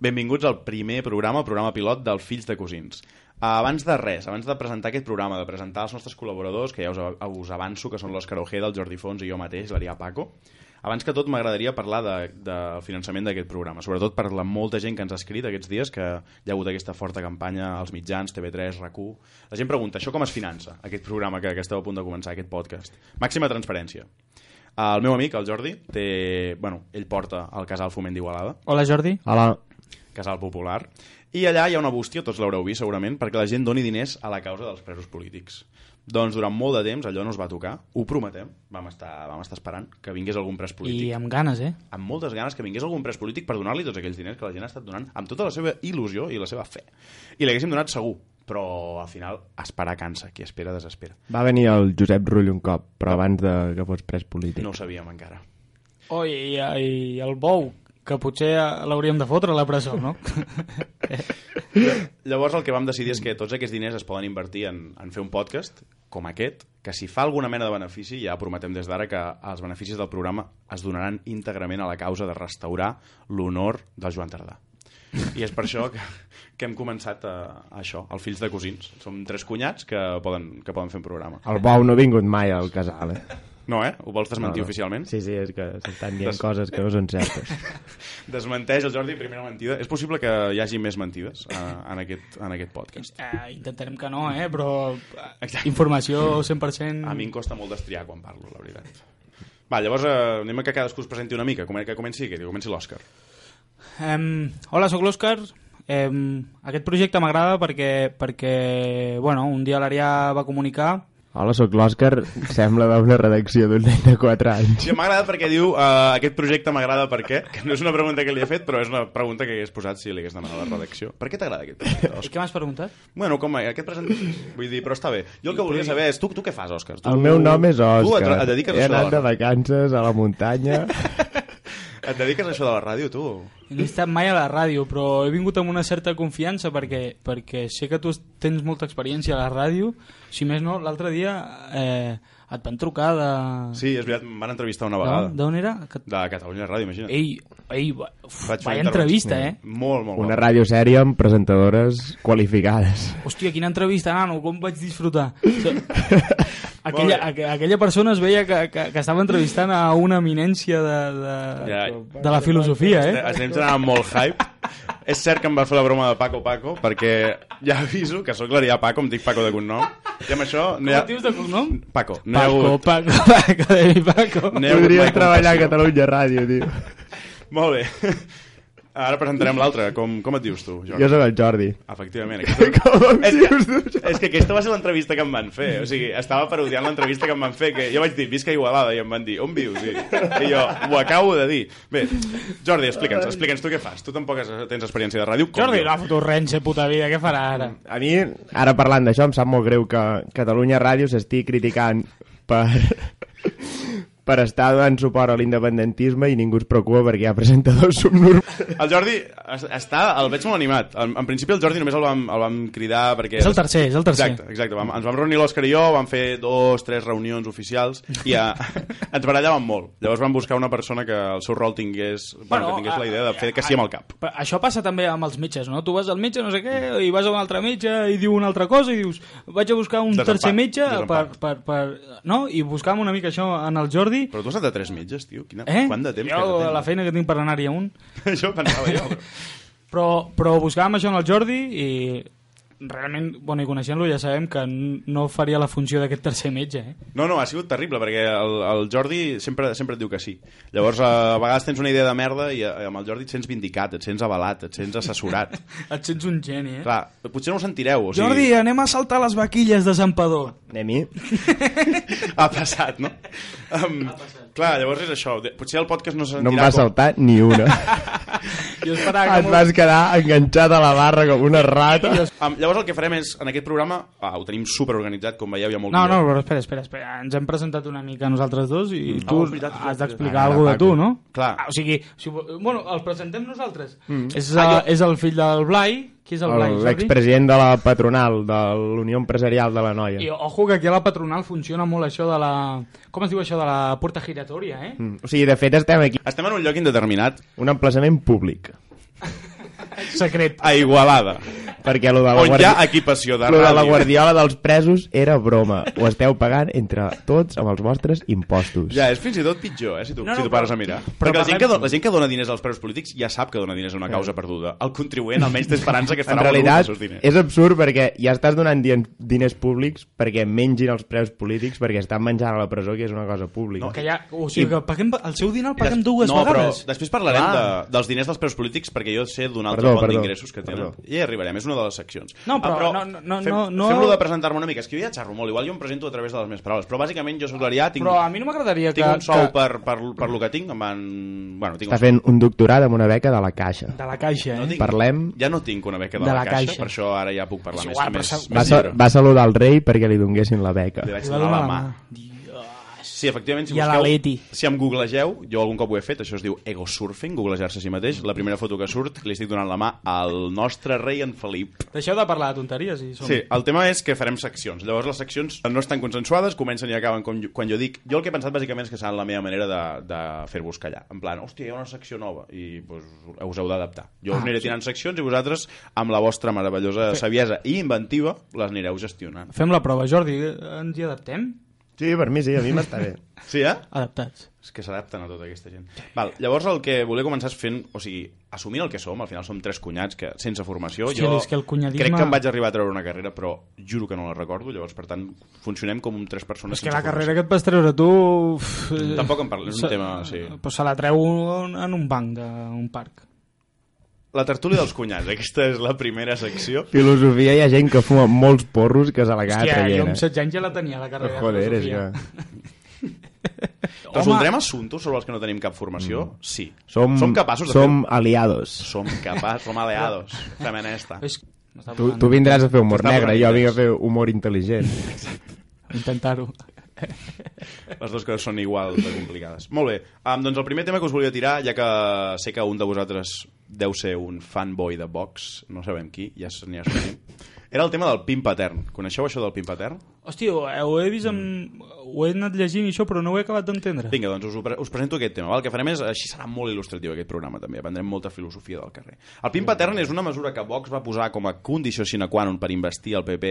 Benvinguts al primer programa, el programa pilot del Fills de Cosins. Eh, Abans de res, abans de presentar aquest programa, de presentar els nostres col·laboradors, que ja us, us avanço que són l'Òscar Ojeda, el Jordi Fons i jo mateix, l'Arià Paco, abans que tot m'agradaria parlar de, de finançament d'aquest programa, sobretot per la molta gent que ens ha escrit aquests dies, que hi ha hagut aquesta forta campanya als mitjans, TV3, RAC1... La gent pregunta, això com es finança, aquest programa que, que esteu a punt de començar, aquest podcast? Màxima transparència. El meu amic, el Jordi, té... Bueno, ell porta el casal Foment d'Igualada, Hola, Jordi. Hola. casal popular, i allà hi ha una bústia, tots l'haureu vist segurament, perquè la gent doni diners a la causa dels presos polítics. Doncs durant molt de temps allò no es va tocar, ho prometem, vam estar, vam estar esperant que vingués algun pres polític I amb ganes, eh? amb moltes ganes que vingués algun pres polític per donar-li tots aquells diners que la gent ha estat donant amb tota la seva il·lusió i la seva fe. I l'haguéssim donat segur, però al final esperar cansa, qui espera desespera. Va venir el Josep Rull un cop, però abans de que fos pres polític. No ho sabíem encara. Oh, i, i el bou, que potser eh, l'hauríem de fotre a la presó, no? Llavors el que vam decidir és que tots aquests diners es poden invertir en, en fer un podcast com aquest, que si fa alguna mena de benefici, ja prometem des d'ara que els beneficis del programa es donaran íntegrament a la causa de restaurar l'honor del Joan Tardà. I és per això que, que hem començat a, a això, el Fills de Cosins. Som tres cunyats que poden, que poden fer un programa. El bou no ha vingut mai al casal, eh? No, eh? Ho vols desmentir no, No, no. oficialment? Sí, sí, és que s'estan dient coses que no són certes. Desmenteix el Jordi, primera mentida. És possible que hi hagi més mentides eh, en, aquest, en aquest podcast. Eh, intentarem que no, eh? Però eh, Exacte. informació 100%... A mi Mm. em costa molt destriar quan parlo, la veritat. Va, llavors eh, anem a que cadascú es presenti una mica, com- que comenci aquest, que comenci l'Òscar. Em, hola, sóc l'Òscar. Em, aquest projecte m'agrada perquè, perquè, bueno, un dia l'Arià va comunicar Hola, sóc l'Òscar. Sembla d'una redacció d'un nen de 4 anys. Sí, m'ha agradat perquè diu eh, aquest projecte m'agrada perquè, que no és una pregunta que li he fet, però és una pregunta que hagués posat si li hagués demanat a la redacció. Per què t'agrada aquest projecte, I Òscar? què m'has preguntat? Bueno, com a- aquest present... Vull dir, però està bé. Jo el que volia saber és, tu, tu què fas, Òscar? Tu, El meu nom és Tu et, Òscar. et dediques a He això de anat la de vacances a la muntanya. Et dediques a això de la ràdio, tu? No he estat mai a la ràdio, però he vingut amb una certa confiança perquè, perquè sé que tu tens molta experiència a la ràdio. Si més no, l'altre dia eh, et van trucar de... Sí, és veritat, em van entrevistar una No? vegada. D'on era? Que... De Catalunya Ràdio, imagina't. Ei, ei, va... uf, Vaig fer vaya una entrevista, eh? Molt, molt. Una molt. ràdio sèria amb presentadores qualificades. Hòstia, quina entrevista, nano, com vaig disfrutar. O sigui, aquella, aqu aquella persona es veia que, que, que estava entrevistant a una eminència de, de, Ja. de la filosofia, eh? Els nens anaven molt hype. És cert que em va fer la broma de Paco Paco, perquè ja aviso que sóc l'Arià Paco, em dic Paco de cognom, i amb això no hi Com ha... et dius de cognom? Paco, no hi ha Paco, hagut... Paco, Paco, David Paco. No hi ha hagut Podria mai treballar a compassió. Catalunya Ràdio, tio. Molt bé. Ara presentarem l'altre. Com, com et dius tu, Jordi? Jo sóc el Jordi. Efectivament. Aquesta... Com em És dius tu, que, és que aquesta va ser l'entrevista que em van fer. O sigui, estava parodiant l'entrevista que em van fer, que jo vaig dir, visca Igualada, i em van dir, on vius? I, i jo, ho acabo de dir. Bé, Jordi, explica'ns, explica'ns tu què fas. Tu tampoc has- tens experiència de ràdio. com Jordi, jo. la fotorrense, puta vida, què farà ara? A mi, ara parlant d'això, em sap molt greu que Catalunya Ràdio s'estigui criticant per, per estar donant suport a l'independentisme i ningú es preocupa perquè hi ha presentadors subnormals. El Jordi es- està, el veig molt animat. En, en principi el Jordi només el vam, el vam cridar perquè... És el tercer, és el tercer. Exacte, exacte. Vam, ens vam reunir l'Òscar i jo, vam fer dos, tres reunions oficials i a, ens barallàvem molt. Llavors vam buscar una persona que el seu rol tingués, bueno, que tingués la idea de fer que sí amb el cap. Però això passa també amb els metges, no? Tu vas al metge, no sé què, i vas a un altre metge i diu una altra cosa i dius, vaig a buscar un Desempat, tercer metge per, desempat. per, per... No? I buscàvem una mica això en el Jordi. Però tu has estat a tres metges, tio. Quina, Eh? Quant de temps jo, que la feina que tinc per anar-hi a un. Això pensava jo. Però... Però, però buscàvem això en el Jordi i realment, bueno, i coneixent-lo ja sabem que n- no faria la funció d'aquest tercer metge, eh? No, no, ha sigut terrible, perquè el, el Jordi sempre, sempre et diu que sí. Llavors, eh, a vegades tens una idea de merda i eh, amb el Jordi et sens vindicat, et sents avalat, et sents assessorat. Et sents un geni, eh? Clar, potser no ho sentireu. O sigui... Jordi, anem a saltar les vaquilles de Sant Padó. Anem-hi. ha passat, no? Um, clar, llavors és això. De- Potser el podcast no se sentirà... No em va com... saltar ni una. Jo esperava que... Et vas quedar enganxat a la barra com una rata. Um, llavors el que farem és, en aquest programa, ah, ho tenim superorganitzat, com veieu, hi ha molt No, guió. no, però espera, espera, espera. Ens hem presentat una mica nosaltres dos i mm. Ah, tu oh, és veritat, és veritat. has d'explicar alguna cosa de Paco. tu, no? Clar. Ah, o sigui, si, vo- bueno, el presentem nosaltres. Mm. És, Ah, ah, jo- és el fill del Blai. Qui és el Blai, El- Jordi? L'expresident de la patronal de l'Unió Empresarial de la I Noia. ojo que aquí a la patronal funciona molt això de la... Com es diu això de la porta giratòria, Mm. eh? Mm, O sigui, de fet, estem aquí. Estem en un lloc indeterminat. Un emplaçament públic. Secret. a Igualada, perquè allò de la, on hi ha guardi... equipació de allò de la ràdio. guardiola dels presos era broma. Ho esteu pagant entre tots amb els vostres impostos. Ja, és fins i tot pitjor, eh, si tu, No, no, si tu però- pares a mirar. Però però Perquè la gent, que parlem- dona, la gent que dona diners als preus polítics ja sap que dona diners a una causa perduda. El contribuent almenys té esperança que en estarà realitat els seus diners. és absurd perquè ja estàs donant dien- diners públics perquè mengin els preus polítics perquè estan menjant a la presó que és una cosa pública No, Que ja, o sigui, que paguem, el seu dinar el paguem Des- dues no, vegades. però després parlarem de, Clar. dels diners dels preus polítics perquè jo sé d'un altre Perdó, font perdó, d'ingressos que tenen. perdó. I hi arribarem, és una de les seccions. No, però no- no- no- fem, no- no- Fem-lo de presentar-me una mica. És que jo ja xerro molt, igual jo em presento a través de les meves paraules, però bàsicament jo soc l'Arià, tinc, Però a mi no m'agradaria que... tinc un sou que- per, per, per lo que tinc, em van... Bueno, tinc està un sou. fent un doctorat amb una beca de la caixa De la caixa, No eh? tinc- Parlem- Ja no tinc una beca de, de la, la caixa, Caixa. per això ara ja puc parlar És més. igual, que però més, s'ha- va, més sa llibre. va saludar el rei perquè li donguessin la beca Li vaig Li va donar la donar mà. la mà. Sí, efectivament, si I a la busqueu, Leti. si em googlegeu, jo algun cop ho he fet, això es diu egosurfing, googlejar-se a si mateix, la primera foto que surt li estic donant la mà al nostre rei en Felip. Deixeu de parlar de tonteries i som... Sí, el tema és que farem seccions. Llavors les seccions no estan consensuades, comencen i acaben com, jo- quan jo dic. Jo el que he pensat bàsicament és que serà la meva manera de, de fer-vos callar. En plan, hòstia, hi ha una secció nova i pues, us heu d'adaptar. Jo us Ah, aniré tirant seccions i vosaltres, amb la vostra meravellosa saviesa i inventiva, les anireu gestionant. Fem la prova, Jordi, eh, ens hi adaptem? sí, per mi sí, a mi m'està bé Sí, eh? Adaptats. És que s'adapten a tota aquesta gent. Val, llavors el que volia començar és fent... O sigui, assumint el que som, al final som tres cunyats que sense formació... Hòstia, jo és que el cunyadisme- Crec que em vaig arribar a treure una carrera, però juro que no la recordo. Llavors, per tant, funcionem com un tres persones És que sense la formació. carrera que et vas treure tu... uf, eh, Tampoc en parlem, és un se- tema, sí. Però se la treu un- en un banc d'un parc. La tertúlia dels cunyats, aquesta és la primera secció. filosofia hi ha gent que fuma molts porros que se l'acaba Hòstia, jo traient amb eh? 16 anys ja la tenia, la carrera. de joder, és filosofia. que... Home, Mm. Resoldrem assumptes sobre els que no tenim cap formació? Sí. som, som capaços de som fer... aliados Som capaços, som aliados. Fem en esta. És... m'està eh? tu, posant- tu vindràs a fer humor Ah, T'està negre posant jo vinc a idees. fer humor intel·ligent Intentar-ho. Les dues coses són igual de complicades. Molt bé, um, doncs el primer tema que us volia tirar, ja que sé que un de vosaltres deu ser un fanboy de Vox, no sabem qui, ja se n'hi ha era el tema del pin patern. Coneixeu això del pin patern? Hòstia, ho, eh, ho he vist amb... Ho he anat llegint i això, però no ho he acabat d'entendre. Vinga, doncs us, ho pre- us presento aquest tema. Val? El que farem és, així serà molt il·lustratiu aquest programa també, aprendrem molta filosofia del carrer. El PIN patern és una mesura que Vox va posar com a condició sine qua non per investir el PP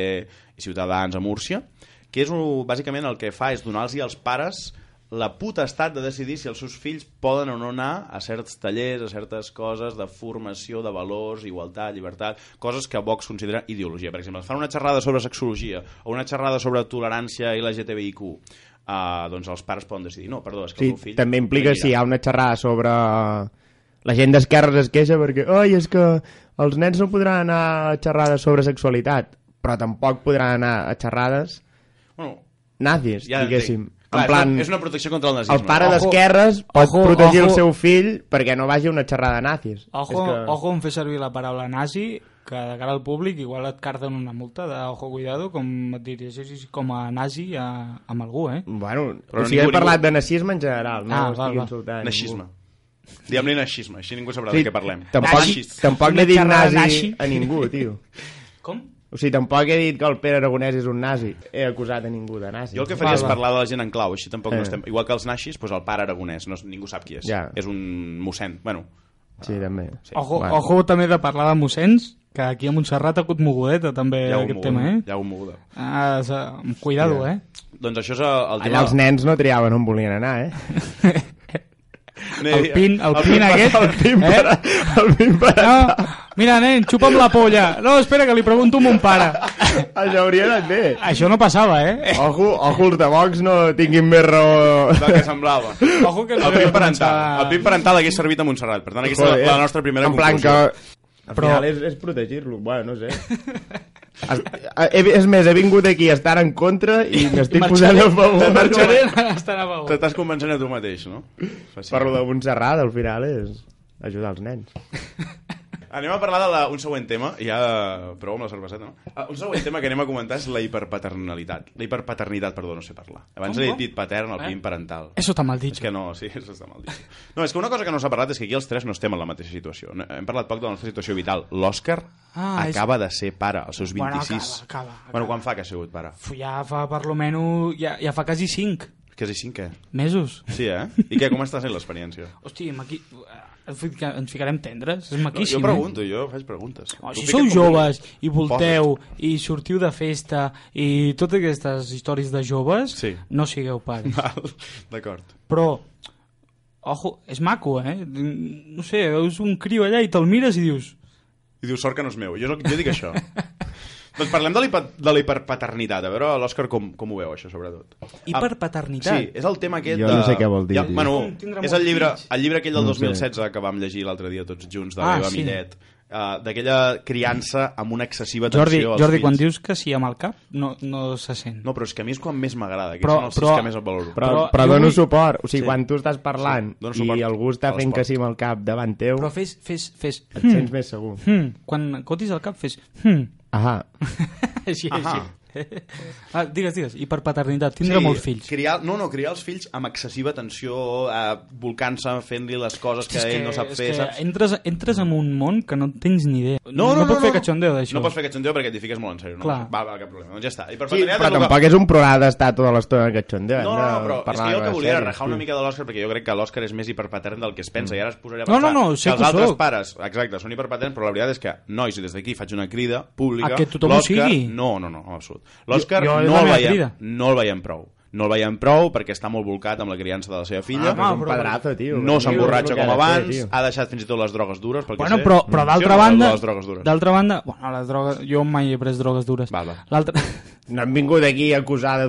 i Ciutadans a Múrcia, que és un, bàsicament el que fa és donar-los als pares la potestat de decidir si els seus fills poden o no anar a certs tallers, a certes coses de formació, de valors, igualtat, llibertat, coses que Vox considera ideologia. Per exemple, es fan una xerrada sobre sexologia o una xerrada sobre tolerància LGTBIQ, uh, doncs els pares poden decidir, no, perdó, és que sí, el meu fill... també implica no si hi anirà. ha una xerrada sobre la gent d'esquerres es queixa perquè oi, és que els nens no podran anar a xerrades sobre sexualitat però tampoc podran anar a xerrades Bueno, nazis, ja ja diguéssim entenc. Clar, en plan, és, una, és una protecció contra el nazisme. Oh, el pare Ojo. d'esquerres pot Ojo, protegir el ojo. seu fill perquè no vagi a una xerrada nazis Ojo, és que... ojo en fer servir la paraula nazi, que de cara al públic igual et carden una multa de ojo cuidado, com et dirigeixis com a nazi a, amb algú, eh? Bueno, Però o sigui, ningú- he parlat de nazisme en general, no Ah, ah, val, estic val. insultant. Naixisme. Diguem-li naixisme, així ningú sabrà Sí, de què parlem. Tampoc, Naxis. tampoc Una n'he dit xerrada nazi nazi. a ningú, tio. Com? O sigui, tampoc he dit que el Pere Aragonès és un nazi. He acusat a ningú de nazi. Jo el que faria és va. parlar de la gent en clau, així tampoc no Eh. estem... Igual que els naixis, doncs el pare aragonès, no, ningú sap qui és. Ja. És un mossèn. Bueno, Sí, també. Sí. Ojo, Bueno. ojo també de parlar de mossens, que aquí a Montserrat ha hagut mogudeta també ja ho aquest moguda. tema, eh? Ja ho moguda. Ah, sa- amb cuidado, eh? Doncs això és el, el tema... Allà els nens no triaven on volien anar, eh? El pin, el pin per- aquest... eh? El pin per, el pin per No, Ah, mira, nen, xupa'm la polla. No, espera, que li pregunto a mon pare. Això hauria anat bé. Això no passava, eh? Ojo, ojo, els de Vox no tinguin més raó... del que semblava. Ojo que no el pin vam parental. començar- El pin parental hagués servit a Montserrat. Per tant, aquesta és Joder. la, la nostra primera en plan conclusió. Que... Al Però- final és, és protegir-lo, bueno, no sé. Es, he, és més, he vingut aquí a estar en contra i m'estic posant a favor. Marxaré estan a favor. T'estàs convencent a tu mateix, no? Fàcil. Parlo de Montserrat, al final és ajudar els nens. Anem a parlar d'un següent tema, i ja eh, prou amb la cerveseta, no? Ah, Un següent tema que anem a comentar és la hiperpaternalitat. La hiperpaternitat, perdó, no sé parlar. Abans Com, he com? dit patern, el Eh? pin parental. Eso está mal És dicho. que no, sí, això està mal dit. No, és que una cosa que no s'ha parlat és que aquí els tres no estem en la mateixa situació. No, Hem parlat poc de la nostra situació vital. L'Òscar Ah, és- acaba de ser pare, als seus Bueno, 26. acaba, acaba, acaba. Bueno, quan fa que ha sigut pare? Fu, Ja fa per lo menos... Ja, ja fa quasi 5. És Quasi cinquè. Mesos? Sí, eh? I què, com està sent l'experiència? Hosti, maqui... eh, fica- ens ficarem tendres? És No, jo maquíssim, eh? pregunto, jo faig preguntes. Oh, Tu si fica't sou com joves vulguis. i volteu i sortiu de festa i totes aquestes històries de joves, Sí. no sigueu pares. Val, D'acord. Però, ojo, és maco, eh? No sé, veus un criu allà i te'l mires i dius... I diu, sort que no és meu. Jo, sóc- jo dic això. doncs parlem de l'hiper- de la hiperpaternitat. A veure, l'Òscar, com, com ho veu, això, sobretot? I Ah, per paternitat. Sí, és el tema aquest Jo de... no sé què vol dir, Ja, tio. bueno, Com tindre és molts el llibre, fills. el llibre aquell del No ho sé. 2016 que vam llegir l'altre dia tots junts, de Ah, ah, l'Eva sí. sí. Millet, uh, d'aquella criança amb una excessiva Jordi, atenció als Jordi fills. quan dius que sí amb el cap, no, no se sent. No, però és que a mi és quan més m'agrada, que però, són Però- els però- però, que més el valoro. Però, Però però, però jo dono vull- suport. O sigui, Sí. sí. quan tu estàs parlant Sí, dono sí. suport i algú està a fent l'esport. que sí amb el cap davant teu, Però però... fes, fes, fes... et sents més segur. Hmm, quan cotis el cap, fes... Hmm. Ahà. Així, Ahà. així. Ah, digues, digues. I per paternitat, tindrà molts fills. Criar, no, no, criar els fills amb excessiva tensió, eh, volcant-se, fent-li les coses que, És ell no sap és fer, que saps? Entres, entres en un món que no en tens ni idea. no, pots fer cachondeo d'això. No pots fer cachondeo perquè t'hi fiques molt en sèrio. No? Clar. Va, va, cap problema. Doncs ja està. I per Sí, paternitat però és el que- tampoc és un programa d'estar tota l'estona que Eh, xondeu. No, no, no, però és que jo el que volia era rajar una mica de l'Òscar perquè jo crec que l'Òscar és més hiperpatern del que es pensa i ara es posaria a Mm. No, pensar no, no, sé que els que ho altres soc. pares exacte, són hiperpaterns però la veritat és que, nois, i des d'aquí faig una crida pública A que tothom ho l'Òscar- sigui. No, no, no, en absolut. L'Òscar Jo- no, jo és la el meva veiem, crida. no el veiem prou. No el veiem prou perquè està molt volcat amb la criança de la seva filla. Ah, però és un però- pedrazo, tio. no Tio, s'emborratxa com és el que ha de abans, fer, tio. Ah, ha deixat fins i tot les drogues dures, pel que Bueno, sé. però, però Sí d'altra o no, banda... eh? Les drogues dures. D'altra banda... Bueno, les drogues... Jo mai he pres drogues dures. Val, va. L'altra... No hem vingut aquí a acusar de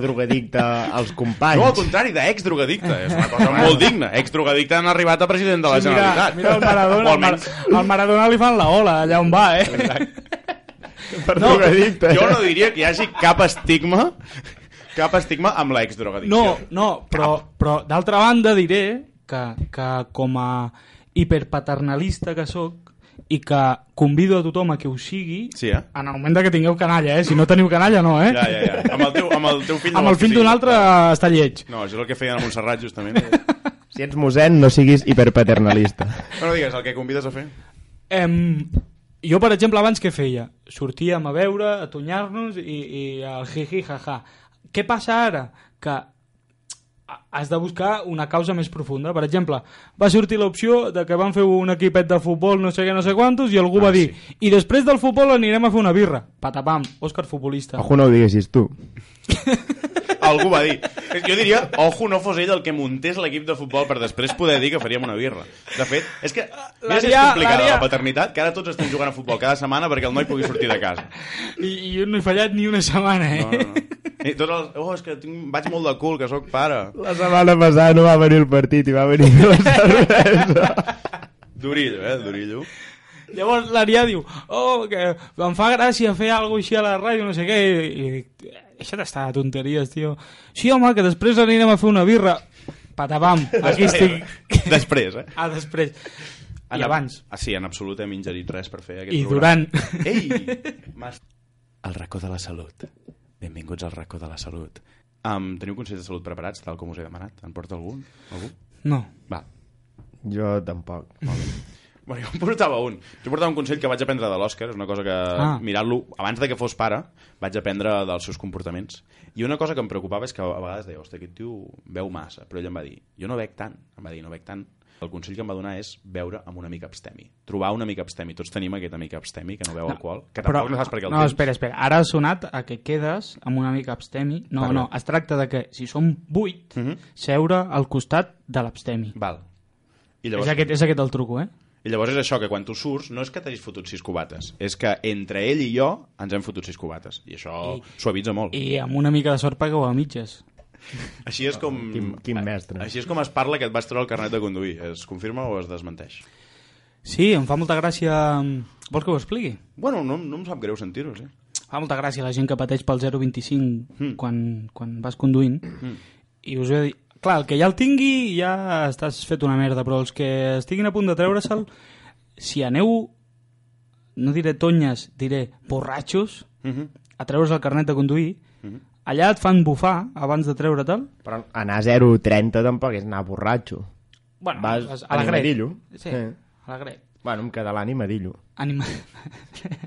drogadicte als companys. No, al contrari, d'ex-drogadicte. És una cosa molt digna. Ex-drogadicte han arribat a president de la Mira, Generalitat. mira el O Maradona. El, Mar almenys el Maradona li fan la ola allà on va, eh? per no, drogadicte. eh? Jo no diria que hi hagi cap estigma cap estigma amb l'exdrogadicció. No, no, però, però d'altra banda diré que, que com a hiperpaternalista que sóc i que convido a tothom a que ho sigui Sí, eh? en el moment de que tingueu canalla, eh? Si no teniu canalla, no, eh? Ja, ja, ja. Amb el teu, amb el teu fill... no Amb el vols que fill d'un sigui. altre està lleig. No, això és el que feien a Montserrat, justament. Si ets mossèn, no siguis hiperpaternalista. Però digues, el que convides a fer. Em, jo, per exemple, abans què feia? Sortíem a veure, a tonyar-nos i, i el jiji jaja. Què passa ara? Que has de buscar una causa més profunda. Per exemple, va sortir l'opció de que van fer un equipet de futbol no sé què, no sé quantos, i algú Ah, va dir i després del futbol anirem a fer una birra. Patapam, Òscar futbolista. Ojo, no ho diguessis tu. Algú va dir. Jo diria, ojo, no fos ell el que muntés l'equip de futbol per després poder dir que faríem una birra. De fet, és que... Mira si és L'Adrià- complicada l'Adrià- la paternitat, que ara tots estem jugant a futbol cada setmana perquè el noi pugui sortir de casa. I, I jo no he fallat ni una setmana, eh? No, no, no. I tots els... Oh, és que tinc... vaig molt de cul, que sóc pare. La setmana passada no va venir el partit i va venir la cervesa. Durillo, eh? Durillo. Llavors l'Arià diu, oh, que em fa gràcia fer alguna així a la ràdio, no sé què, i, i dic, deixa't estar de tonteries, tio. Sí, home, que després anirem a fer una birra. Patapam, aquí estic. Després, eh? Ah, després. I En- abans. Ah, sí, en absolut hem ingerit res per fer aquest I programa. durant. Ei! Mas... El racó de la salut. Benvinguts al racó de la salut. Um, teniu consells de salut preparats, tal com us he demanat? En porta algun? Algú? No. Va. Jo tampoc. Bueno, jo en portava un. Jo portava un consell que vaig aprendre de l'Òscar, és una cosa que, Ah. ah. mirant-lo, abans de que fos pare, vaig aprendre dels seus comportaments. I una cosa que em preocupava és que a vegades deia, hòstia, aquest tio veu massa, però ell em va dir, jo no bec tant, em va dir, no bec tant. El consell que em va donar és beure amb un amic abstemi. Trobar un amic abstemi. Tots tenim aquest amic abstemi que no beu alcohol, que tampoc no saps per què el no, tens. espera, espera. Ara ha sonat a que quedes amb un amic abstemi. No, Perdó. no, es tracta de que si som vuit, Mhm. seure al costat de l'abstemi. Val. I És, llavors, aquest, és aquest el truco, eh? I llavors és això, que quan tu surts, no és que t'hagis fotut sis cubates, és que entre ell i jo ens hem fotut sis cubates. I això I- suavitza molt. I amb una mica de sort pagueu a mitges. Així és com... Quin- quin mestre. Així és com es parla que et vas treure el carnet de conduir. Es confirma o es desmenteix? Sí, em fa molta gràcia... Vols que ho expliqui? Bueno, no, no em sap greu sentir-ho, sí. Fa molta gràcia la gent que pateix pel 0,25 Mm. quan, quan vas conduint i us he de dir... Clar, el que ja el tingui ja estàs fet una merda, però els que estiguin a punt de treure-se'l, si aneu, no diré tonyes, diré borratxos, Uh -huh. a treure's el carnet de conduir, allà et fan bufar abans de treure-te'l. Però anar a 0,30 tampoc és anar borratxo. Bueno, Vas vas a la gret. animadillo. Sí, Eh. a la gret. Bueno, en català animadillo. Anima...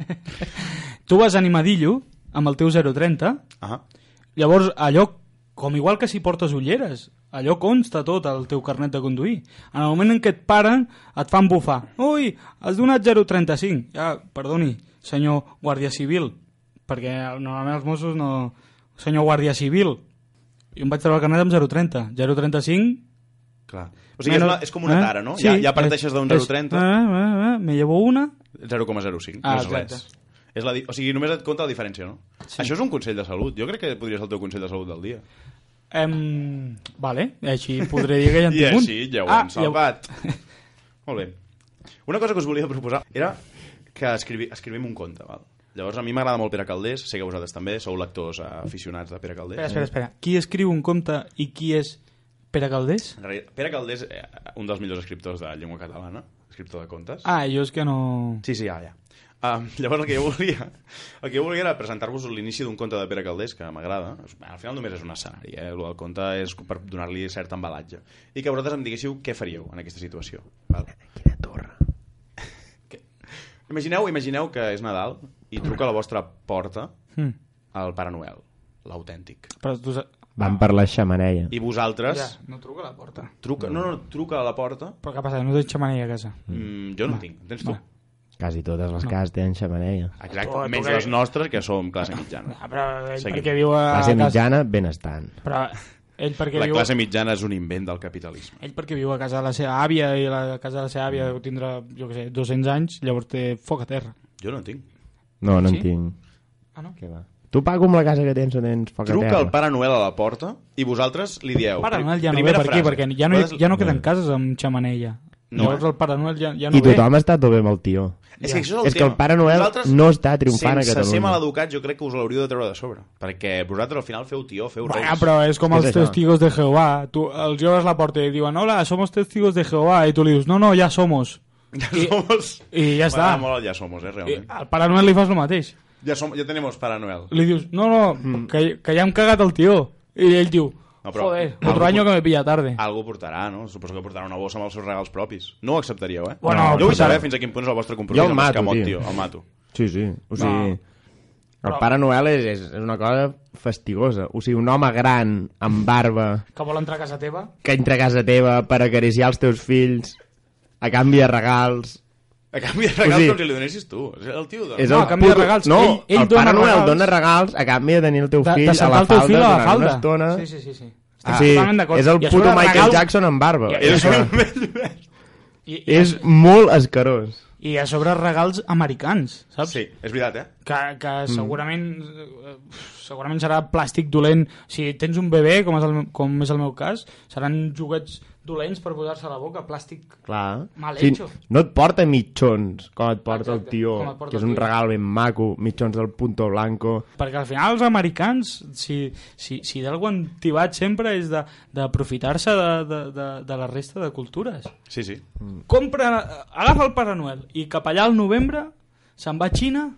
tu vas animadillo amb el teu 030 Ah, Llavors, allò Com igual que si portes ulleres. Allò consta tot al teu carnet de conduir. En el moment en què et paren, et fan bufar. Ui, has donat 0,35. Ja, perdoni, senyor Guàrdia Civil. Perquè normalment els Mossos no... Senyor Guàrdia Civil. Jo em vaig treure el carnet amb 0,30. 0,35 Clar. O sigui, és, una, és eh? com una tara, no? Sí, ja, ja parteixes d'un 0,30, Ah, ah, ah, me llevo una... 0,05. Ah, no és exacte. res. És la, di- o sigui, només et compta la diferència, no? Sí. Això és un consell de salut. Jo crec que podria ser el teu consell de salut del dia. Em... Vale, així podré dir que ja en I tinc un. Ah, així ja ho hem ja salvat. Molt bé. Una cosa que us volia proposar era que escrivi, escrivim un conte, val? Llavors, a mi m'agrada molt Pere Caldés, sé que vosaltres també sou lectors eh, aficionats de Pere Caldés. Espera, espera, espera. Qui escriu un conte i qui és Pere Caldés? En realitat, Pere Caldés, eh, un dels millors escriptors de llengua catalana, escriptor de contes. Ah, jo és que no... Sí, sí, ja, ja. Um, llavors el que jo volia, el que jo volia era presentar-vos l'inici d'un conte de Pere Caldés, que m'agrada. És- Al final només és un escenari, eh? El del conte és per donar-li cert embalatge. I que vosaltres em diguéssiu què faríeu en aquesta situació. Val? Eh, Quina torre. Imagineu, imagineu que és Nadal i truca a la vostra porta Hm. el Pare Noel, l'autèntic. Però tu... sa- Van per la xamaneia. I vosaltres... Ja, no truca a la porta. Truca, no, no, truca a la porta. Però què passa? No tens xamaneia a casa. Mm, jo no en tinc. En Tens tu? Va. Quasi totes les cases tenen xamaneia. Exacte. Tu- tu Menys què? les nostres, que som classe mitjana. Ah, però ell Seguim. perquè viu a... Classe a casa... mitjana, benestant. Però ell perquè, La viu... classe mitjana és un invent del capitalisme. ell perquè viu a casa de la seva àvia i la casa de la seva Mm. àvia deu tindrà, jo què sé, 200 anys, llavors té foc a terra. Jo no en tinc. No, no Sí? en tinc. Ah, no? Què va? Tu pago amb la casa que tens on tens foc a Truca terra. el Pare Noel a la porta i vosaltres li dieu... Pare pri- Noel ja no ve primera per aquí, frase. perquè ja no, hi- Vosaltres- ja no queden cases amb xamaneia. No, No, Llavors eh? el Pare Noel ja, ja no I ve. tothom està tot bé amb el tio. És que, això és el És que tema. el Pare Noel vosaltres, no està triomfant a Sense Catalunya. ser maleducat, jo crec que us l'hauríeu de treure de sobre. Perquè vosaltres al final feu tió, feu reis. Bueno, però és com És els això. testigos de Jehovà. Tu, els joves la porta i diuen hola, somos testigos de Jehovà. I tu li dius no, no, ja somos. Ja somos... I ja està. M'agrada molt el ja somos, eh, I realment. al Pare Noel li fas el mateix. Ja, som, ja tenemos Pare Noel. Li dius no, no, Mm. que, que ja hem cagat el tio. I ell diu No, però- joder, algú- Ah. otro año que me pilla tarde. Algú portarà, no? Suposo que portarà una bossa amb els seus regals propis. No ho acceptaríeu, eh? Bueno, jo vull portarà- saber fins a quin punt és el vostre compromís Jo el amb mato, Escamot, tio. El mato. Sí, sí. O sigui, No. el Pare Noel és, és, és una cosa fastigosa. O sigui, un home gran, amb barba, Que vol entrar a casa teva? que entra a casa teva per acariciar els teus fills, a canvi de regals... A canvi de regals, O sigui- com si li donessis tu. És El tio... De... És No, el a canvi de regals. No, Ell- ell el Pare dona Noel regals. dona regals a canvi de tenir el teu De, fill de a sentar la el teu falda fill a la durant falda. una estona. Sí, sí, sí. sí. Ah, Estic sí, totalment d'acord. és el I a puto sobre Michael regals- Jackson amb barba. I- i És És, això. un vell I, i, és molt escarós. I a sobre regals americans, saps? Sí, és veritat, eh? que, que segurament eh, segurament serà plàstic dolent si tens un bebè, com és el, meu- com és el meu cas seran juguets dolents per posar-se a la boca, plàstic Clar. Mal O sigui, hecho. no et porta mitjons, com et porta Exacte, el tio, com et porta que és el un tio. regal ben maco, mitjons del Punto Blanco. perquè al final els americans si, si, si d'algú han tibat sempre és de- d'aprofitar-se de, de, de, de la resta de cultures Sí, sí. compra, agafa el Pare Noel i cap allà al novembre se'n va a Xina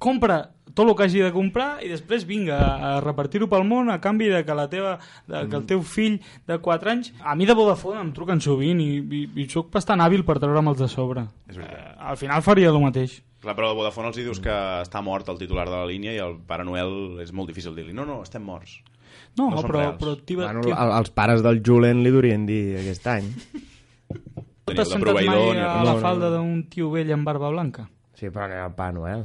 compra tot el que hagi de comprar i després vinga a a repartir-ho pel món a canvi de que, la teva, de, Mm. que el teu fill de 4 anys a mi de Vodafone em truquen sovint i, i, i sóc bastant hàbil per treure'm els de sobre És veritat. al final faria el mateix Clar, però de Vodafone els hi dius que està mort el titular de la línia i el Pare Noel és molt difícil dir-li no, no, estem morts. No no, no són però, reals. però tiba, Bueno, tiba, el- els pares del Julen li durien dir aquest any. no Teniu t'has de sentat mai proveïdor ni a res. la no, no. falda d'un tio vell amb barba blanca Sí, però que era el Pare Noel.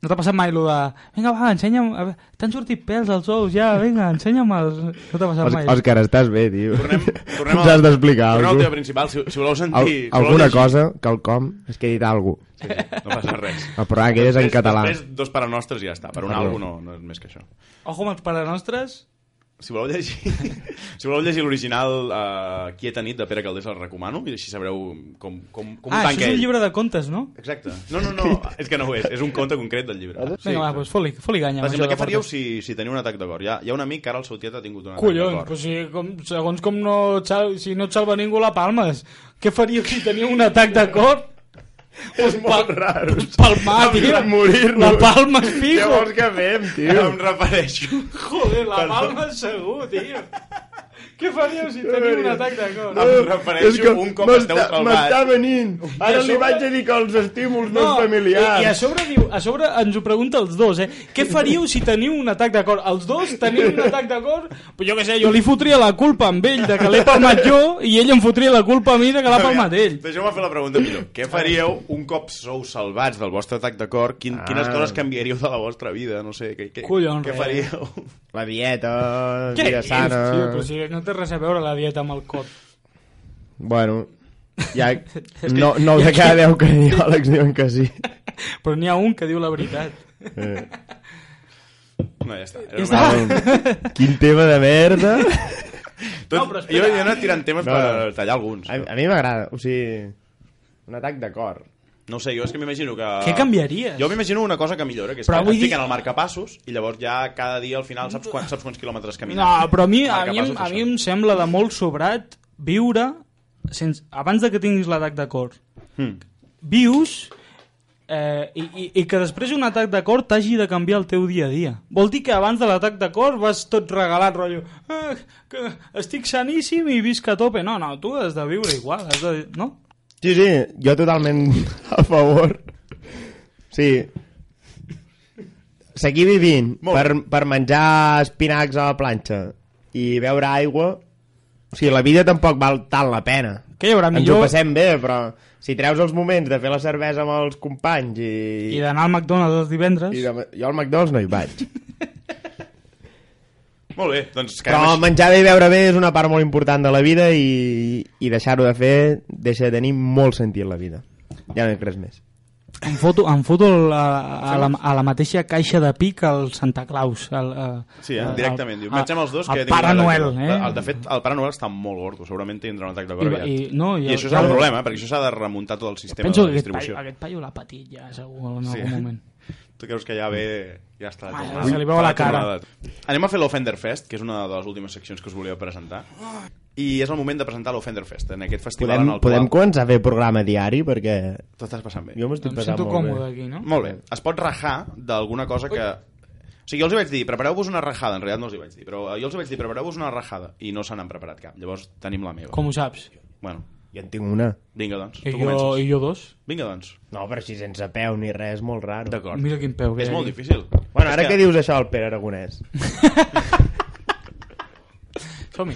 no t'ha passat mai allò de vinga va, ensenya'm a veure, t'han sortit pèls als ous ja, vinga, ensenya'm els... no t'ha passat Els, mai els que ara estàs bé, tio. Tornem, tornem, Ens has d'explicar tornem al alguna tema principal. Si, si voleu sentir... Al, si voleu alguna llegir- cosa, quelcom, és que he dit alguna cosa. Sí, sí, no passa res. El programa que ah, és en Després- català. Després, dos Pare Nostres i ja està. Per un Perdó. àlbum no, no és més que això. Ojo amb els pares nostres. Si voleu llegir si voleu llegir l'original eh, Quieta nit de Pere Caldés el recomano i així sabreu com, com, com ho ah, això tanca és un ell. llibre de contes, no? Exacte. No, no, no, és que no ho és. És un conte concret del llibre. Sí, Vinga, va, doncs foli, foli ganya. amb Per exemple, això què de faríeu portes. si, si teniu un atac de cor? Hi ha, hi ha un amic que ara el seu tiet ha tingut un atac de Collons, cor. pues si, com, segons com no et sal, si no et salva ningú la palmes, què faríeu si teniu un atac de cor? És molt raro. Palmar, tio. Hem de morir-nos. La palma és Què fijo. vols que fem, Ara tio? em refereixo. Joder, la Perdó. palma és segur, tio. Què faríeu si teniu un atac de cor? Em refereixo un cop esteu traumat. M'està venint. I a Ara li sobre- vaig a dir que els estímuls no, dels familiars. I, I a sobre, diu, a sobre ens ho pregunta els dos, eh? Què faríeu si teniu un atac de cor? Els dos teniu un atac de cor? Però jo què sé, jo li fotria la culpa amb ell de que l'he palmat jo i ell em fotria la culpa a mi de que l'ha palmat ell. Deixeu-me fer la pregunta millor. Què faríeu un cop sou salvats del vostre atac de cor? Quin, Ah. Quines coses canviaríeu de la vostra vida? No sé, què, què, Collons, eh. què res. faríeu? La dieta, Què vida dius, sana... tio? Però si no té res a veure la dieta amb el cor. Bueno, ja... No, no de cada deu cardiòlegs diuen que sí. Però n'hi ha un que diu la veritat. Eh. No, ja està. Era Ja una... està. Quin tema de merda. Tot... No, però espera. jo, jo he anat tirant temes No. per tallar alguns. A, a mi m'agrada, o sigui... Un atac de cor. No ho sé, jo és que m'imagino que... Què canviaries? Jo m'imagino una cosa que millora, que és Però que vull et dir- fiquen al marcapassos i llavors ja cada dia al final saps quants, saps quants quilòmetres camines. No, però a mi, a mi, em- Marcapassos, a mi això. em sembla de molt sobrat viure sense, abans de que tinguis l'atac de cor. Hmm. Vius eh, i, i, i que després d'un atac de cor t'hagi de canviar el teu dia a dia. Vol dir que abans de l'atac de cor vas tot regalat, rotllo, ah, que estic saníssim i visc a tope. No, no, tu has de viure igual, has de... No? Sí, sí, jo totalment a favor. Sí. Seguir vivint Molt per, per menjar espinacs a la planxa i beure aigua... O sigui, la vida tampoc val tant la pena. Que hi haurà Ens ho millor passem bé, però si treus els moments de fer la cervesa amb els companys i... i d'anar al McDonald's els divendres. i de... Jo al McDonald's no hi vaig. Molt bé, doncs quedem Però així. menjar bé i beure bé és una part molt important de la vida i, i deixar-ho de fer deixa de tenir molt sentit la vida. Ja no és res més. Em foto, em foto el- a, a, la, a la mateixa caixa de pic al Santa Claus. El, a, Sí, eh? directament. Diu, a- mengem els dos. al que tinc ah, Pare un atac Noel, de- eh? El, de fet, el Pare Noel està molt gordo. Segurament tindrà un atac de I- cor aviat. i- no, i I el- això serà un ja- problema, eh? perquè això s'ha de remuntar tot el sistema Penso de que aquest distribució. paio, aquest paio l'ha patit ja, segur, en algun Sí. moment. Tu creus que ja ve... Ja està. la Mare, tornada. se li veu Fa la cara. tornada. Anem a fer l'Offender Fest, que és una de les últimes seccions que us volia presentar. I és el moment de presentar l'Offender Fest, en aquest festival Podem, en el podem qual començar a fer programa diari perquè tot estàs passant bé. jo m'ho estic Em passant sento molt còmode bé. aquí, no? Molt bé. Es pot rajar d'alguna cosa que... O sigui, jo els hi vaig dir, prepareu-vos una rajada. En realitat no els hi vaig dir, però eh, jo els hi vaig dir, prepareu-vos una rajada. I no se n'han preparat cap. Llavors tenim la meva. Com ho saps? Bueno, Jo en tinc una. vinga, doncs. Tu I jo, comences. I jo dos? Vinga, doncs. No, però si sense peu ni res, molt raro. D'acord. Mira quin peu. que És hi ha molt aquí. difícil. Bueno, ara És que dius això del Pere Aragonès. Som-hi.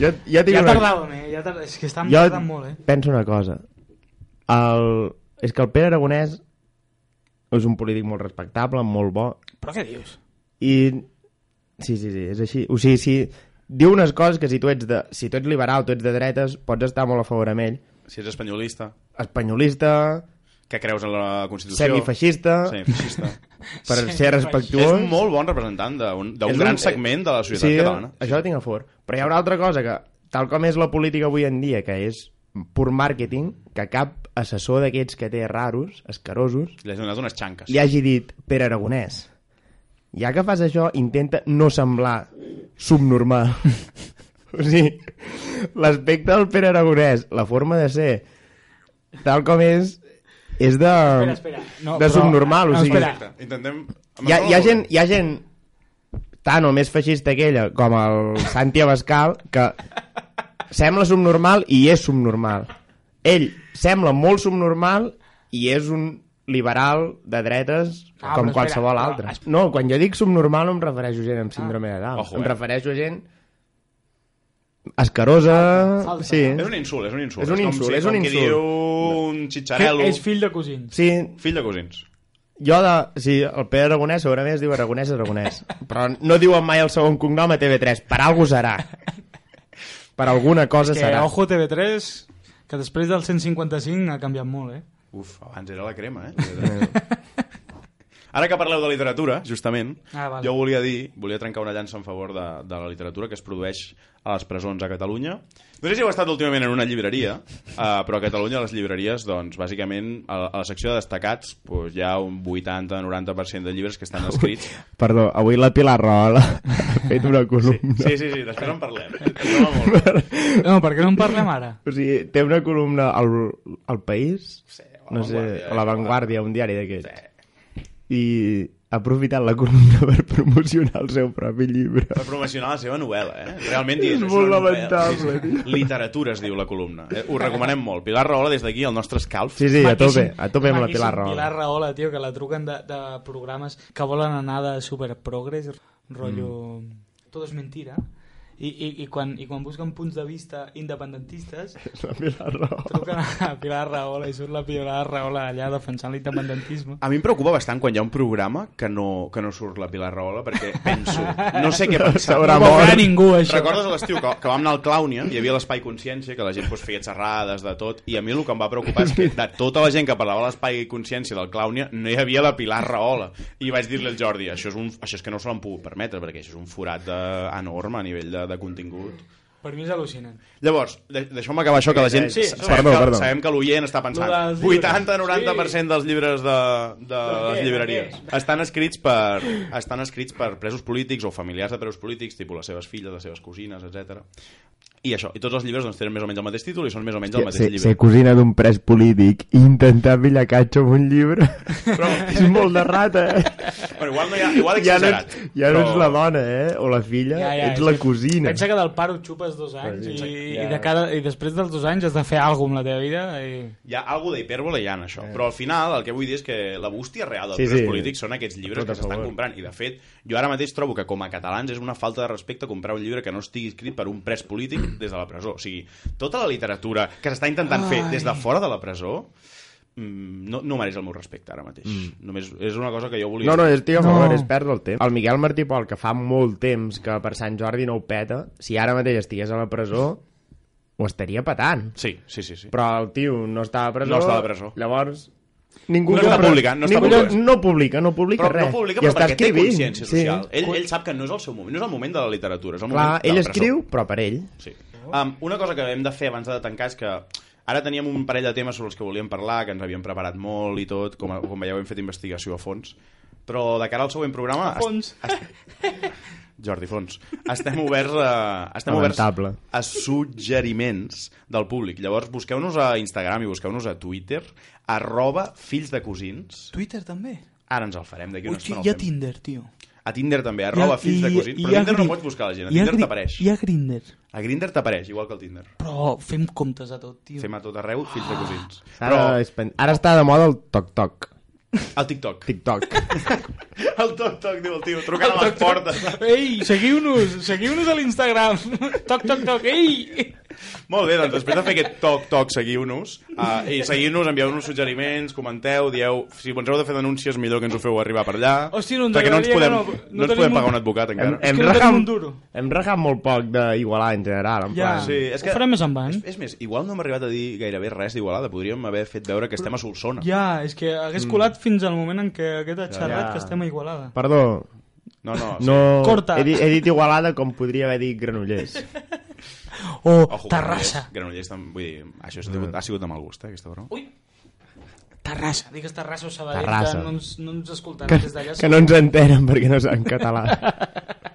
Jo, jo tinc Ja una... tardàvem, eh? Ja tard... És que estan Jo tardant molt, eh? penso una cosa. El... És que el Pere Aragonès és un polític molt respectable, molt bo, Però què dius? I... Sí, sí, sí, és així. O sigui, si... Diu unes coses que si tu ets, de, si tu ets liberal, tu ets de dretes, pots estar molt a favor amb ell. Si ets espanyolista, Espanyolista, que creus en la Constitució... semifeixista, Semifeixista. per ser és respectuós... un molt bon representant d'un d'un gran segment de la societat eh, sí, catalana. això ho tinc a favor. Però hi ha una altra cosa que, tal com és la política avui en dia, que és pur màrqueting, que cap assessor d'aquests que té raros, escarosos, Li has donat unes xanques. li hagi dit Pere Aragonès, ja que fas això, intenta no semblar subnormal. o sigui, l'aspecte del Pere Aragonès, la forma de ser, tal com és, és de, Espera, espera. No, de però- subnormal. no, O sigui, espera. Perfecte. Intentem... hi ha, hi, ha gent, hi ha gent tant o més feixista que ella, com el Santi Abascal, que sembla subnormal i és subnormal. Ell sembla molt subnormal i és un liberal de dretes Ah, com però espera, qualsevol però altre. es- Ah. No, quan jo dic subnormal no em refereixo a gent amb síndrome de Down. Ojo, eh. em refereixo a gent escarosa... Falsa. Sí, És un insult, és un insult. És un insult, com si, és un com insult. Qui diu un xitxarelo. Que és fill de cosins. sí, Fill de cosins. jo de... Sí, el Pere Aragonès segurament es diu Aragonès Aragonès. Però no diuen mai el segon cognom a TV3. Per alguna serà. Per alguna cosa Que, serà. ojo, TV3, que després del 155 ha canviat molt, eh? Uf, abans era la crema, eh? Ara que parleu de literatura, justament, Ah, val. jo volia dir, volia trencar una llança en favor de, de la literatura que es produeix a les presons a Catalunya. No sé si heu estat últimament en una llibreria, eh, però a Catalunya les llibreries, doncs, bàsicament, a, la- a la secció de destacats doncs, hi ha un 80-90% de llibres que estan escrits. Perdó, avui la Pilar Rahola ha fet una columna. Sí, sí, sí, després en parlem. Em sembla molt bé. No, per què no en parlem ara? O sigui, té una columna al, al País, Sí, a La no sé, Vanguardia, eh, a La Vanguardia, un diari d'aquests. I ha aprofitat la columna per promocionar el seu propi llibre. Per promocionar la seva novel·la, eh? Realment dius, És una molt novel·la". lamentable, Sí, sí. Literatura es diu la columna. Eh, Ho recomanem molt. Pilar Rahola, des d'aquí, el nostre escalf. Sí, sí, a Maquíssim, tope, a tope amb la maquíssim, Pilar Rahola. Pilar Rahola, tio, que la truquen de, de programes que volen anar de superprogres, rotllo... Mm. Todo es mentira. I, i, i, quan, I quan busquen punts de vista independentistes, És la Pilar Rahola. truquen a Pilar Rahola i surt la Pilar Rahola allà defensant l'independentisme. A mi em preocupa bastant quan hi ha un programa que no, que no surt la Pilar Rahola perquè penso, no sé què pensar. S'haurà No ho farà mort. ningú, això. Recordes a l'estiu que, que vam anar al Clownian, hi havia l'espai consciència, que la gent pues, feia xerrades de tot, i a mi el que em va preocupar és que de tota la gent que parlava de l'espai consciència del Clownian no hi havia la Pilar Rahola. I vaig dir-li al Jordi, això és, un, això és que no se l'han pogut permetre, perquè això és un forat de, enorme a nivell de, de contingut. Per mi és al·lucinant. Llavors, de- deixeu-me acabar això, que la gent... Sí, sa- sí. sabem, Perdó, que, perdó. sabem que l'oient està pensant. Lo dels llibres. 80-90% dels llibres de, de què? les llibreries Per estan escrits per estan escrits per presos polítics o familiars de presos polítics, tipus les seves filles, les seves cosines, etc. I això, i tots els llibres doncs, tenen més o menys el mateix títol i són més o menys el mateix Ser, llibre. ser cosina d'un pres polític i intentar pillar catxo amb un llibre Però, és molt de rata, eh? però igual no hi ha, igual he Ja no, exagerat. ets, ja no ets però- la dona, eh? O la filla, ja, ja, ets és la que cosina. Pensa que del paro xupes dos anys i, i, de cada, i després dels dos anys has de fer alguna cosa amb la teva vida i... Hi ha alguna d'hipèrbole hi ha en això, però al final el que vull dir és que la bústia real dels Eh. Sí, sí, presos sí. polítics són aquests llibres Tot a que s'estan favor. comprant i de fet jo ara mateix trobo que com a catalans és una falta de respecte comprar un llibre que no estigui escrit per un pres polític des de la presó, o sigui, tota la literatura que s'està intentant fer des de fora de la presó mm, no, no mereix el meu respecte ara mateix, només és una cosa que jo volia Mm. No, no, estic a No. favor, no. és perdre el temps. El Miquel Martí Pol, que fa molt temps que per Sant Jordi no ho peta, si ara mateix estigués a la presó, ho estaria petant. Sí, sí, sí, sí. Però el tio no està a la presó. No està a la presó. Llavors, ningú... No està compra- publicant, no està ningú publicant. No publica, no publica però res. no publica I però està perquè té escrivint, consciència social. Sí. Ell, ell sap que no és el seu moment, no és el moment de la literatura, és el Clar, moment de la ell presó. escriu, però per ell. Sí. Um, una cosa que hem de fer abans de tancar és que ara teníem un parell de temes sobre els que volíem parlar, que ens havíem preparat molt i tot, com, com veieu hem fet investigació a fons, però de cara al següent programa... A fons. est- est- Jordi Fons. Estem oberts a, estem oberts Lamentable. a suggeriments del públic. Llavors busqueu-nos a Instagram i busqueu-nos a Twitter, arroba fills de cosins. Twitter també? Ara ens el farem d'aquí una Ui, estona. hi el ha fem. Tinder, tio. A Tinder també, arroba fills de cosins. Però a Tinder no pots buscar la gent, a Tinder t'apareix. Hi ha Grindr. A Grindr t'apareix, igual que al Tinder. Però fem comptes a tot, tio. Fem a tot arreu, fills de cosins. Ara, Però es pen- ara està de moda el toc-toc. el TikTok. TikTok. El toc-toc, diu el tio, trucant a les portes. Ei, seguiu-nos, seguiu-nos a l'Instagram. Toc, toc, toc, ei! Molt bé, doncs després de fer aquest toc-toc, seguiu-nos. Uh, I seguiu-nos, envieu-nos suggeriments, comenteu, dieu... Si ens heu de fer denúncies, millor que ens ho feu arribar per allà. Hòstia, no ens perquè no ens agradaria, podem, no, no no ens tenim podem pagar un- un advocat, hem, encara. hem, que no tenim un rajat, duro. hem rajat molt poc d'igualar en general. En Ja. plan. Sí, és Ah, Ho que... farem més endavant. És, és més, igual no hem arribat a dir gairebé res d'Igualada. Podríem haver fet veure que estem a Solsona. Ja, és que hagués colat fins al moment en què aquest ha xerrat Ja. que estem a Igualada. Perdó, No, no, sí. no... Corta. He, dit, he dit Igualada com podria haver dit Granollers. O Ojo, Oh, Terrassa. Granollers, Granollers també, vull dir, això ha sigut, ha sigut de mal gust, eh, aquesta broma. Ui! Terrassa, digues Terrassa o Sabadell, Terrassa. que no ens, no ens escoltaran que, des d'allà. que no ens entenen perquè no saben català.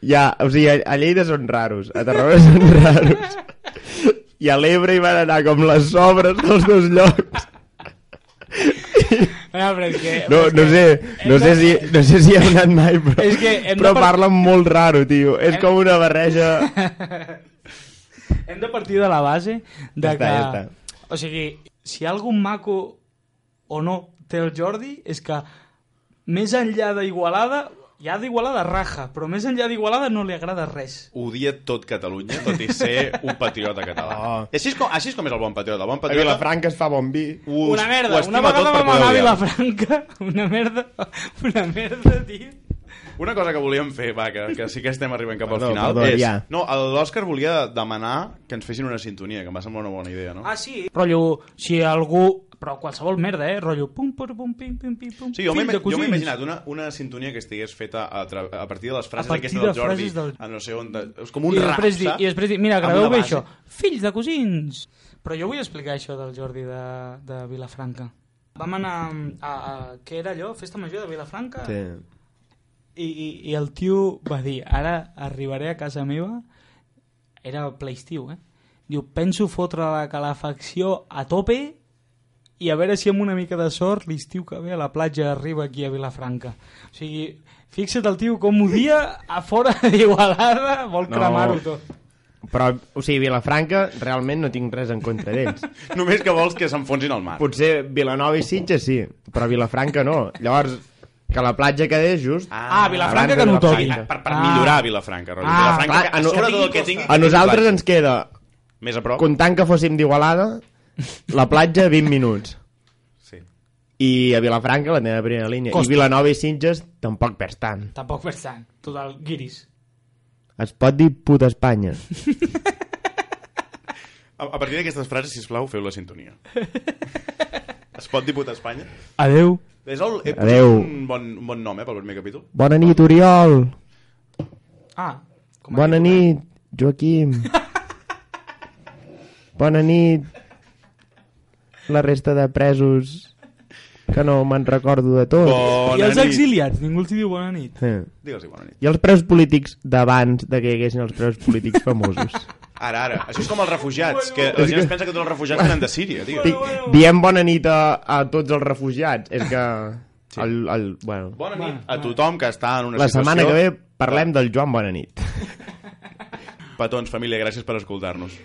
Ja, o sigui, a- a Lleida són raros, a Tarragona són raros. I a l'Ebre hi van anar com les sobres dels dos llocs. No, Ah, però és que... No, és no que- sé, no hem sé de- si, no sé si heu anat mai, però, És que hem de però par- parlen molt raro, tio. És Hem- com una barreja... Hem de partir de la base de Ja està, que... ja està. O sigui, si hi ha algun maco o no té el Jordi, és que més enllà d'Igualada, ja d'Igualada raja, però més enllà d'Igualada no li agrada res. odia tot Catalunya, tot i ser un patriota català. Oh. I així és, com, així és com és el bon patriota. El bon A patriota Vilafranca es fa bon vi. ho, una merda, ho una estima vegada tot per vam poder anar a odiar. Vilafranca, una merda, una merda, tio. Una cosa que volíem fer, va, que, que sí que estem arribant cap Perdó, al final, perdó, és... ja. No, l'Òscar volia demanar que ens fessin una sintonia, que em va semblar una bona idea, no? Ah, sí? Rotllo, si algú... Però qualsevol merda, eh? Rotllo, pum, pum, pum, pim, pim, pim, pum. Sí, jo fill m'he de jo m'he cosins. imaginat una, una sintonia que estigués feta a, tra... a partir de les frases A partir aquestes de del Jordi, frases del- a no sé on... De... És com un I rap, després, di, saps? I després di, mira, Amb graveu una bé base. això. Fills de cosins! Però jo vull explicar això del Jordi de, de Vilafranca. Vam anar mm, a, a, què era allò? Festa Major de Vilafranca? Sí. I, i, I el tio va dir, ara arribaré a casa meva, era ple estiu, eh? Diu, penso fotre la calefacció a tope i a veure si amb una mica de sort l'estiu que ve a la platja arriba aquí a Vilafranca. O sigui, fixa't el tio com odia a fora d'Igualada, vol No. cremar-ho tot. Però, o sigui, Vilafranca realment no tinc res en contra d'ells. Només que vols que s'enfonsin al mar. Potser Vilanova i Sitges sí, però Vilafranca no. Llavors, que la platja quedés just... Ah, Vilafranca abans de que no ho toqui. Vilafranca. Per, per Ah. millorar Vilafranca, rotllo. Ah, Vilafranca, clar, que, a no- sobre tot el que tingui tingui... A nosaltres platja. ens queda, Més a prop? comptant que fóssim d'Igualada, la platja 20 minuts. Sí. I a Vilafranca la teva primera línia. Costa. I Vilanova i Sitges tampoc perds tant. Tampoc per tant. Total, guiris. Es pot dir puta Espanya. A, a partir d'aquestes frases, sisplau, feu la sintonia. es pot dir puta Espanya? Adeu. És el, he posat Adeu. un bon, un bon nom, eh, pel primer capítol. Bona nit, Oriol. Ah, com a Bona nit, Joaquim. Bona nit, la resta de presos que no me'n recordo de tot. I Bona els exiliats, ningú els hi diu bona nit. Eh. Digues-hi bona nit. I els preus polítics d'abans de que hi haguessin els preus polítics famosos. Ara, ara. Això és com els refugiats, que la gent es pensa que tots els refugiats venen de Síria, tio. Dic, diem bona nit a, a tots els refugiats. És que... El, el, bueno, Bona nit a tothom que està en una la situació... setmana que ve parlem del Joan Bona nit. Petons, família, gràcies per escoltar-nos.